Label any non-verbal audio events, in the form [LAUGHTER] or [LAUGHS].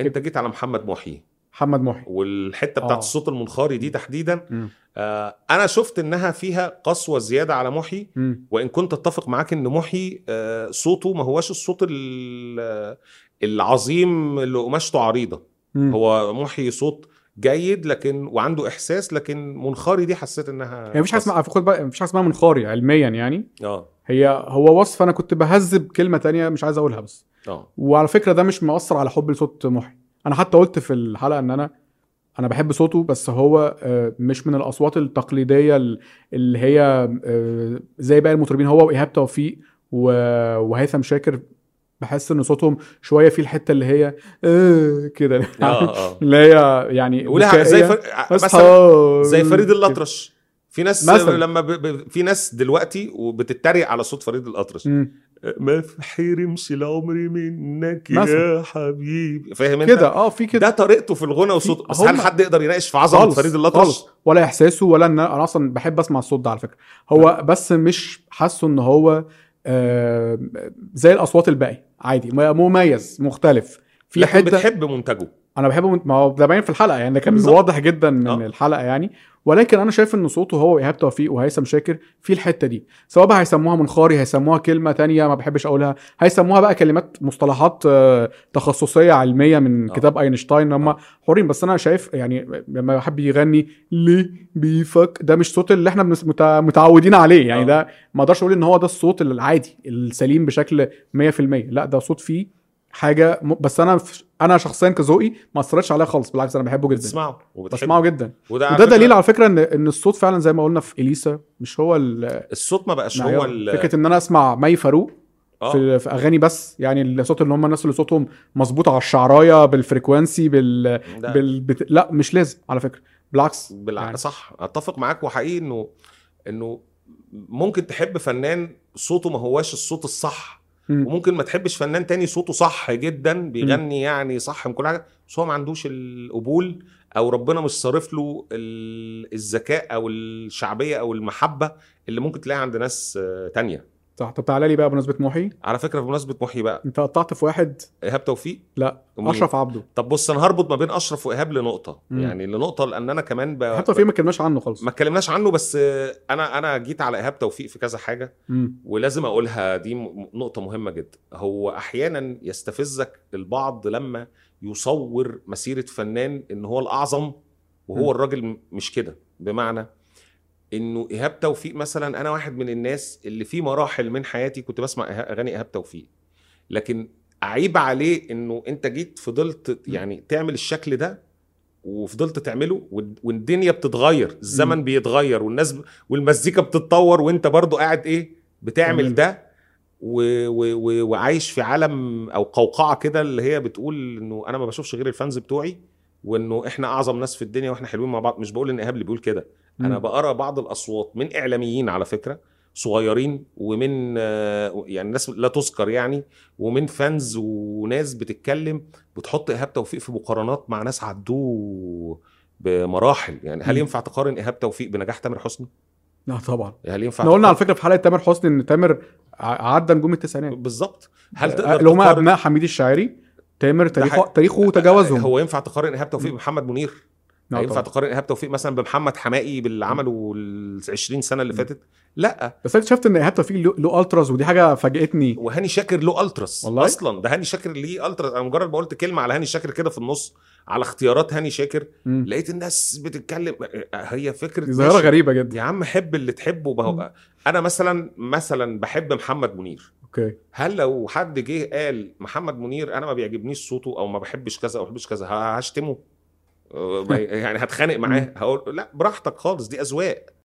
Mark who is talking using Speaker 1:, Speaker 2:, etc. Speaker 1: انت جيت على محمد محيي
Speaker 2: محمد محي
Speaker 1: والحته بتاعت
Speaker 2: آه.
Speaker 1: الصوت المنخري دي تحديدا
Speaker 2: مم.
Speaker 1: آه انا شفت انها فيها قسوه زياده على محيي
Speaker 2: مم.
Speaker 1: وان كنت اتفق معاك ان محيي آه صوته ما هواش الصوت ال- العظيم اللي قماشته عريضه
Speaker 2: مم.
Speaker 1: هو محيي صوت جيد لكن وعنده احساس لكن منخري دي حسيت انها
Speaker 2: يعني مفيش حاجه اسمها خد بالك مفيش حاجه اسمها منخاري علميا يعني
Speaker 1: اه
Speaker 2: هي هو وصف انا كنت بهذب كلمه تانية مش عايز اقولها بس
Speaker 1: اه
Speaker 2: وعلى فكره ده مش مؤثر على حب لصوت محي انا حتى قلت في الحلقه ان انا انا بحب صوته بس هو آه، مش من الاصوات التقليديه ال- اللي هي آه، زي باقي المطربين هو وايهاب توفيق و- وهيثم شاكر بحس ان صوتهم شويه في الحته اللي هي [LAUGHS] آه كده
Speaker 1: اه اه
Speaker 2: [LAUGHS] اللي هي يعني
Speaker 1: ولها زي فر... مثلا زي فريد
Speaker 2: الأطرش
Speaker 1: الاطرش في ناس
Speaker 2: مثلا.
Speaker 1: لما ب... ب... في ناس دلوقتي وبتتريق على صوت فريد الاطرش ما في حرمش العمر منك يا
Speaker 2: مثلا.
Speaker 1: حبيبي فاهم انت
Speaker 2: كده اه في كده
Speaker 1: ده طريقته في الغنى وصوته بس هل
Speaker 2: هم-
Speaker 1: حد يقدر يناقش في عظمه
Speaker 2: خالص،
Speaker 1: فريد الاطرش
Speaker 2: خالص. ولا احساسه ولا ان انا اصلا بحب اسمع الصوت ده على فكره هو بس مش حاسه ان هو آه، زي الاصوات الباقي عادي م- مميز مختلف في
Speaker 1: لكن
Speaker 2: حته
Speaker 1: بتحب منتجه
Speaker 2: انا بحبه من- ما هو ده باين في الحلقه يعني ده كان
Speaker 1: بالظبط.
Speaker 2: واضح جدا من
Speaker 1: آه.
Speaker 2: الحلقه يعني ولكن انا شايف ان صوته هو وايهاب توفيق وهيثم شاكر في الحته دي سواء بقى هيسموها منخاري هيسموها كلمه تانية ما بحبش اقولها هيسموها بقى كلمات مصطلحات آه، تخصصيه علميه من
Speaker 1: آه.
Speaker 2: كتاب اينشتاين هم
Speaker 1: آه.
Speaker 2: حرين بس انا شايف يعني لما حد يغني ليه بيفك ده مش صوت اللي احنا بنس- متع- متعودين عليه يعني
Speaker 1: آه.
Speaker 2: ده ما اقدرش اقول ان هو ده الصوت العادي السليم بشكل 100% لا ده صوت فيه حاجه م... بس انا ف... انا شخصيا كذوقي ما اثرتش عليا خالص بالعكس انا بحبه جدا
Speaker 1: بتسمعه وبتحبه
Speaker 2: بسمعه جدا
Speaker 1: وده, على
Speaker 2: وده
Speaker 1: فكرة
Speaker 2: دليل على فكره ان ان الصوت فعلا زي ما قلنا في اليسا مش هو ال... يعني
Speaker 1: الصوت ما بقاش هو
Speaker 2: معيار.
Speaker 1: ال...
Speaker 2: فكره ان انا اسمع مي فاروق
Speaker 1: آه.
Speaker 2: في, في اغاني بس يعني الصوت اللي هم الناس اللي صوتهم مظبوط على الشعرايه بالفريكوانسي بال...
Speaker 1: ده-
Speaker 2: بال... بت... لا مش لازم على فكره بالعكس
Speaker 1: بالع...
Speaker 2: يعني.
Speaker 1: صح اتفق معاك وحقيقي انه انه ممكن تحب فنان صوته ما هواش الصوت الصح
Speaker 2: مم.
Speaker 1: وممكن ما تحبش فنان تاني صوته صح جدا بيغني يعني صح من كل حاجه بس هو ما عندوش القبول او ربنا مش صارف له ال- الذكاء او الشعبيه او المحبه اللي ممكن تلاقيها عند ناس آه، تانية
Speaker 2: صح طب تعالى لي بقى بمناسبه محي
Speaker 1: على فكره بمناسبه محيي بقى
Speaker 2: انت قطعت في واحد
Speaker 1: ايهاب توفيق
Speaker 2: لا،
Speaker 1: أمال إيه؟
Speaker 2: اشرف عبده
Speaker 1: طب بص انا هربط ما بين اشرف وايهاب لنقطه
Speaker 2: مم.
Speaker 1: يعني لنقطه لان انا كمان ب...
Speaker 2: حتى في ما اتكلمناش عنه خالص
Speaker 1: آه. ما اتكلمناش عنه بس آه، انا انا جيت على ايهاب توفيق في كذا حاجه
Speaker 2: مم.
Speaker 1: ولازم اقولها دي م- نقطه مهمه جدا هو احيانا يستفزك البعض لما يصور مسيره فنان ان هو الاعظم وهو
Speaker 2: م.
Speaker 1: الراجل م- مش كده بمعنى انه ايهاب توفيق مثلا انا واحد من الناس اللي في مراحل من حياتي كنت بسمع إيها- اغاني ايهاب توفيق لكن عيب عليه انه انت جيت فضلت يعني تعمل الشكل ده وفضلت تعمله والد- والدنيا بتتغير الزمن بيتغير والناس ب... والمزيكا بتتطور وانت برضو قاعد ايه بتعمل
Speaker 2: تعمله.
Speaker 1: ده و... و... و... وعايش في عالم او قوقعه كده اللي هي بتقول انه انا ما بشوفش غير الفانز بتوعي وانه احنا اعظم ناس في الدنيا واحنا حلوين مع بعض مش بقول ان ايهاب اللي بيقول كده انا
Speaker 2: مم.
Speaker 1: بقرا بعض الاصوات من اعلاميين على فكره صغيرين ومن آه، يعني ناس لا تذكر يعني ومن فانز وناس بتتكلم بتحط ايهاب توفيق في مقارنات مع ناس عدوه بمراحل يعني هل
Speaker 2: مم.
Speaker 1: ينفع تقارن ايهاب توفيق بنجاح تامر حسني؟
Speaker 2: لا طبعا
Speaker 1: هل ينفع
Speaker 2: احنا قلنا على
Speaker 1: تقارن-
Speaker 2: فكره في حلقه تامر حسني ان تامر ع- عدى نجوم التسعينات
Speaker 1: بالظبط هل
Speaker 2: آه،
Speaker 1: تقدر
Speaker 2: اللي هم
Speaker 1: تقارن-
Speaker 2: ابناء حميد الشاعري تامر تاريخه
Speaker 1: حقيقي.
Speaker 2: تاريخه تجاوزهم
Speaker 1: هو ينفع تقارن ايهاب توفيق
Speaker 2: مم. نعم
Speaker 1: بمحمد منير؟
Speaker 2: لا
Speaker 1: ينفع
Speaker 2: طبعاً.
Speaker 1: تقارن ايهاب توفيق مثلا بمحمد حماقي باللي عمله ال 20 سنه اللي
Speaker 2: مم.
Speaker 1: فاتت؟ لا
Speaker 2: بس انا اكتشفت ان ايهاب توفيق له- له التراس ودي حاجه فاجئتني
Speaker 1: وهاني شاكر له التراس
Speaker 2: والله؟
Speaker 1: اصلا ده هاني شاكر ليه التراس انا مجرد ما قلت كلمه على هاني شاكر كده في النص على اختيارات هاني شاكر
Speaker 2: مم.
Speaker 1: لقيت الناس بتتكلم هي فكره
Speaker 2: دي ظاهره
Speaker 1: ماشي.
Speaker 2: غريبه جدا
Speaker 1: يا عم حب اللي تحبه ما هو انا مثلا مثلا بحب محمد منير
Speaker 2: اوكي
Speaker 1: هل لو حد جه قال محمد منير انا ما بيعجبنيش صوته او ما بحبش كذا او ما بحبش كذا ه- هشتمه أه، يعني هتخانق معاه هقول لا براحتك خالص دي اذواق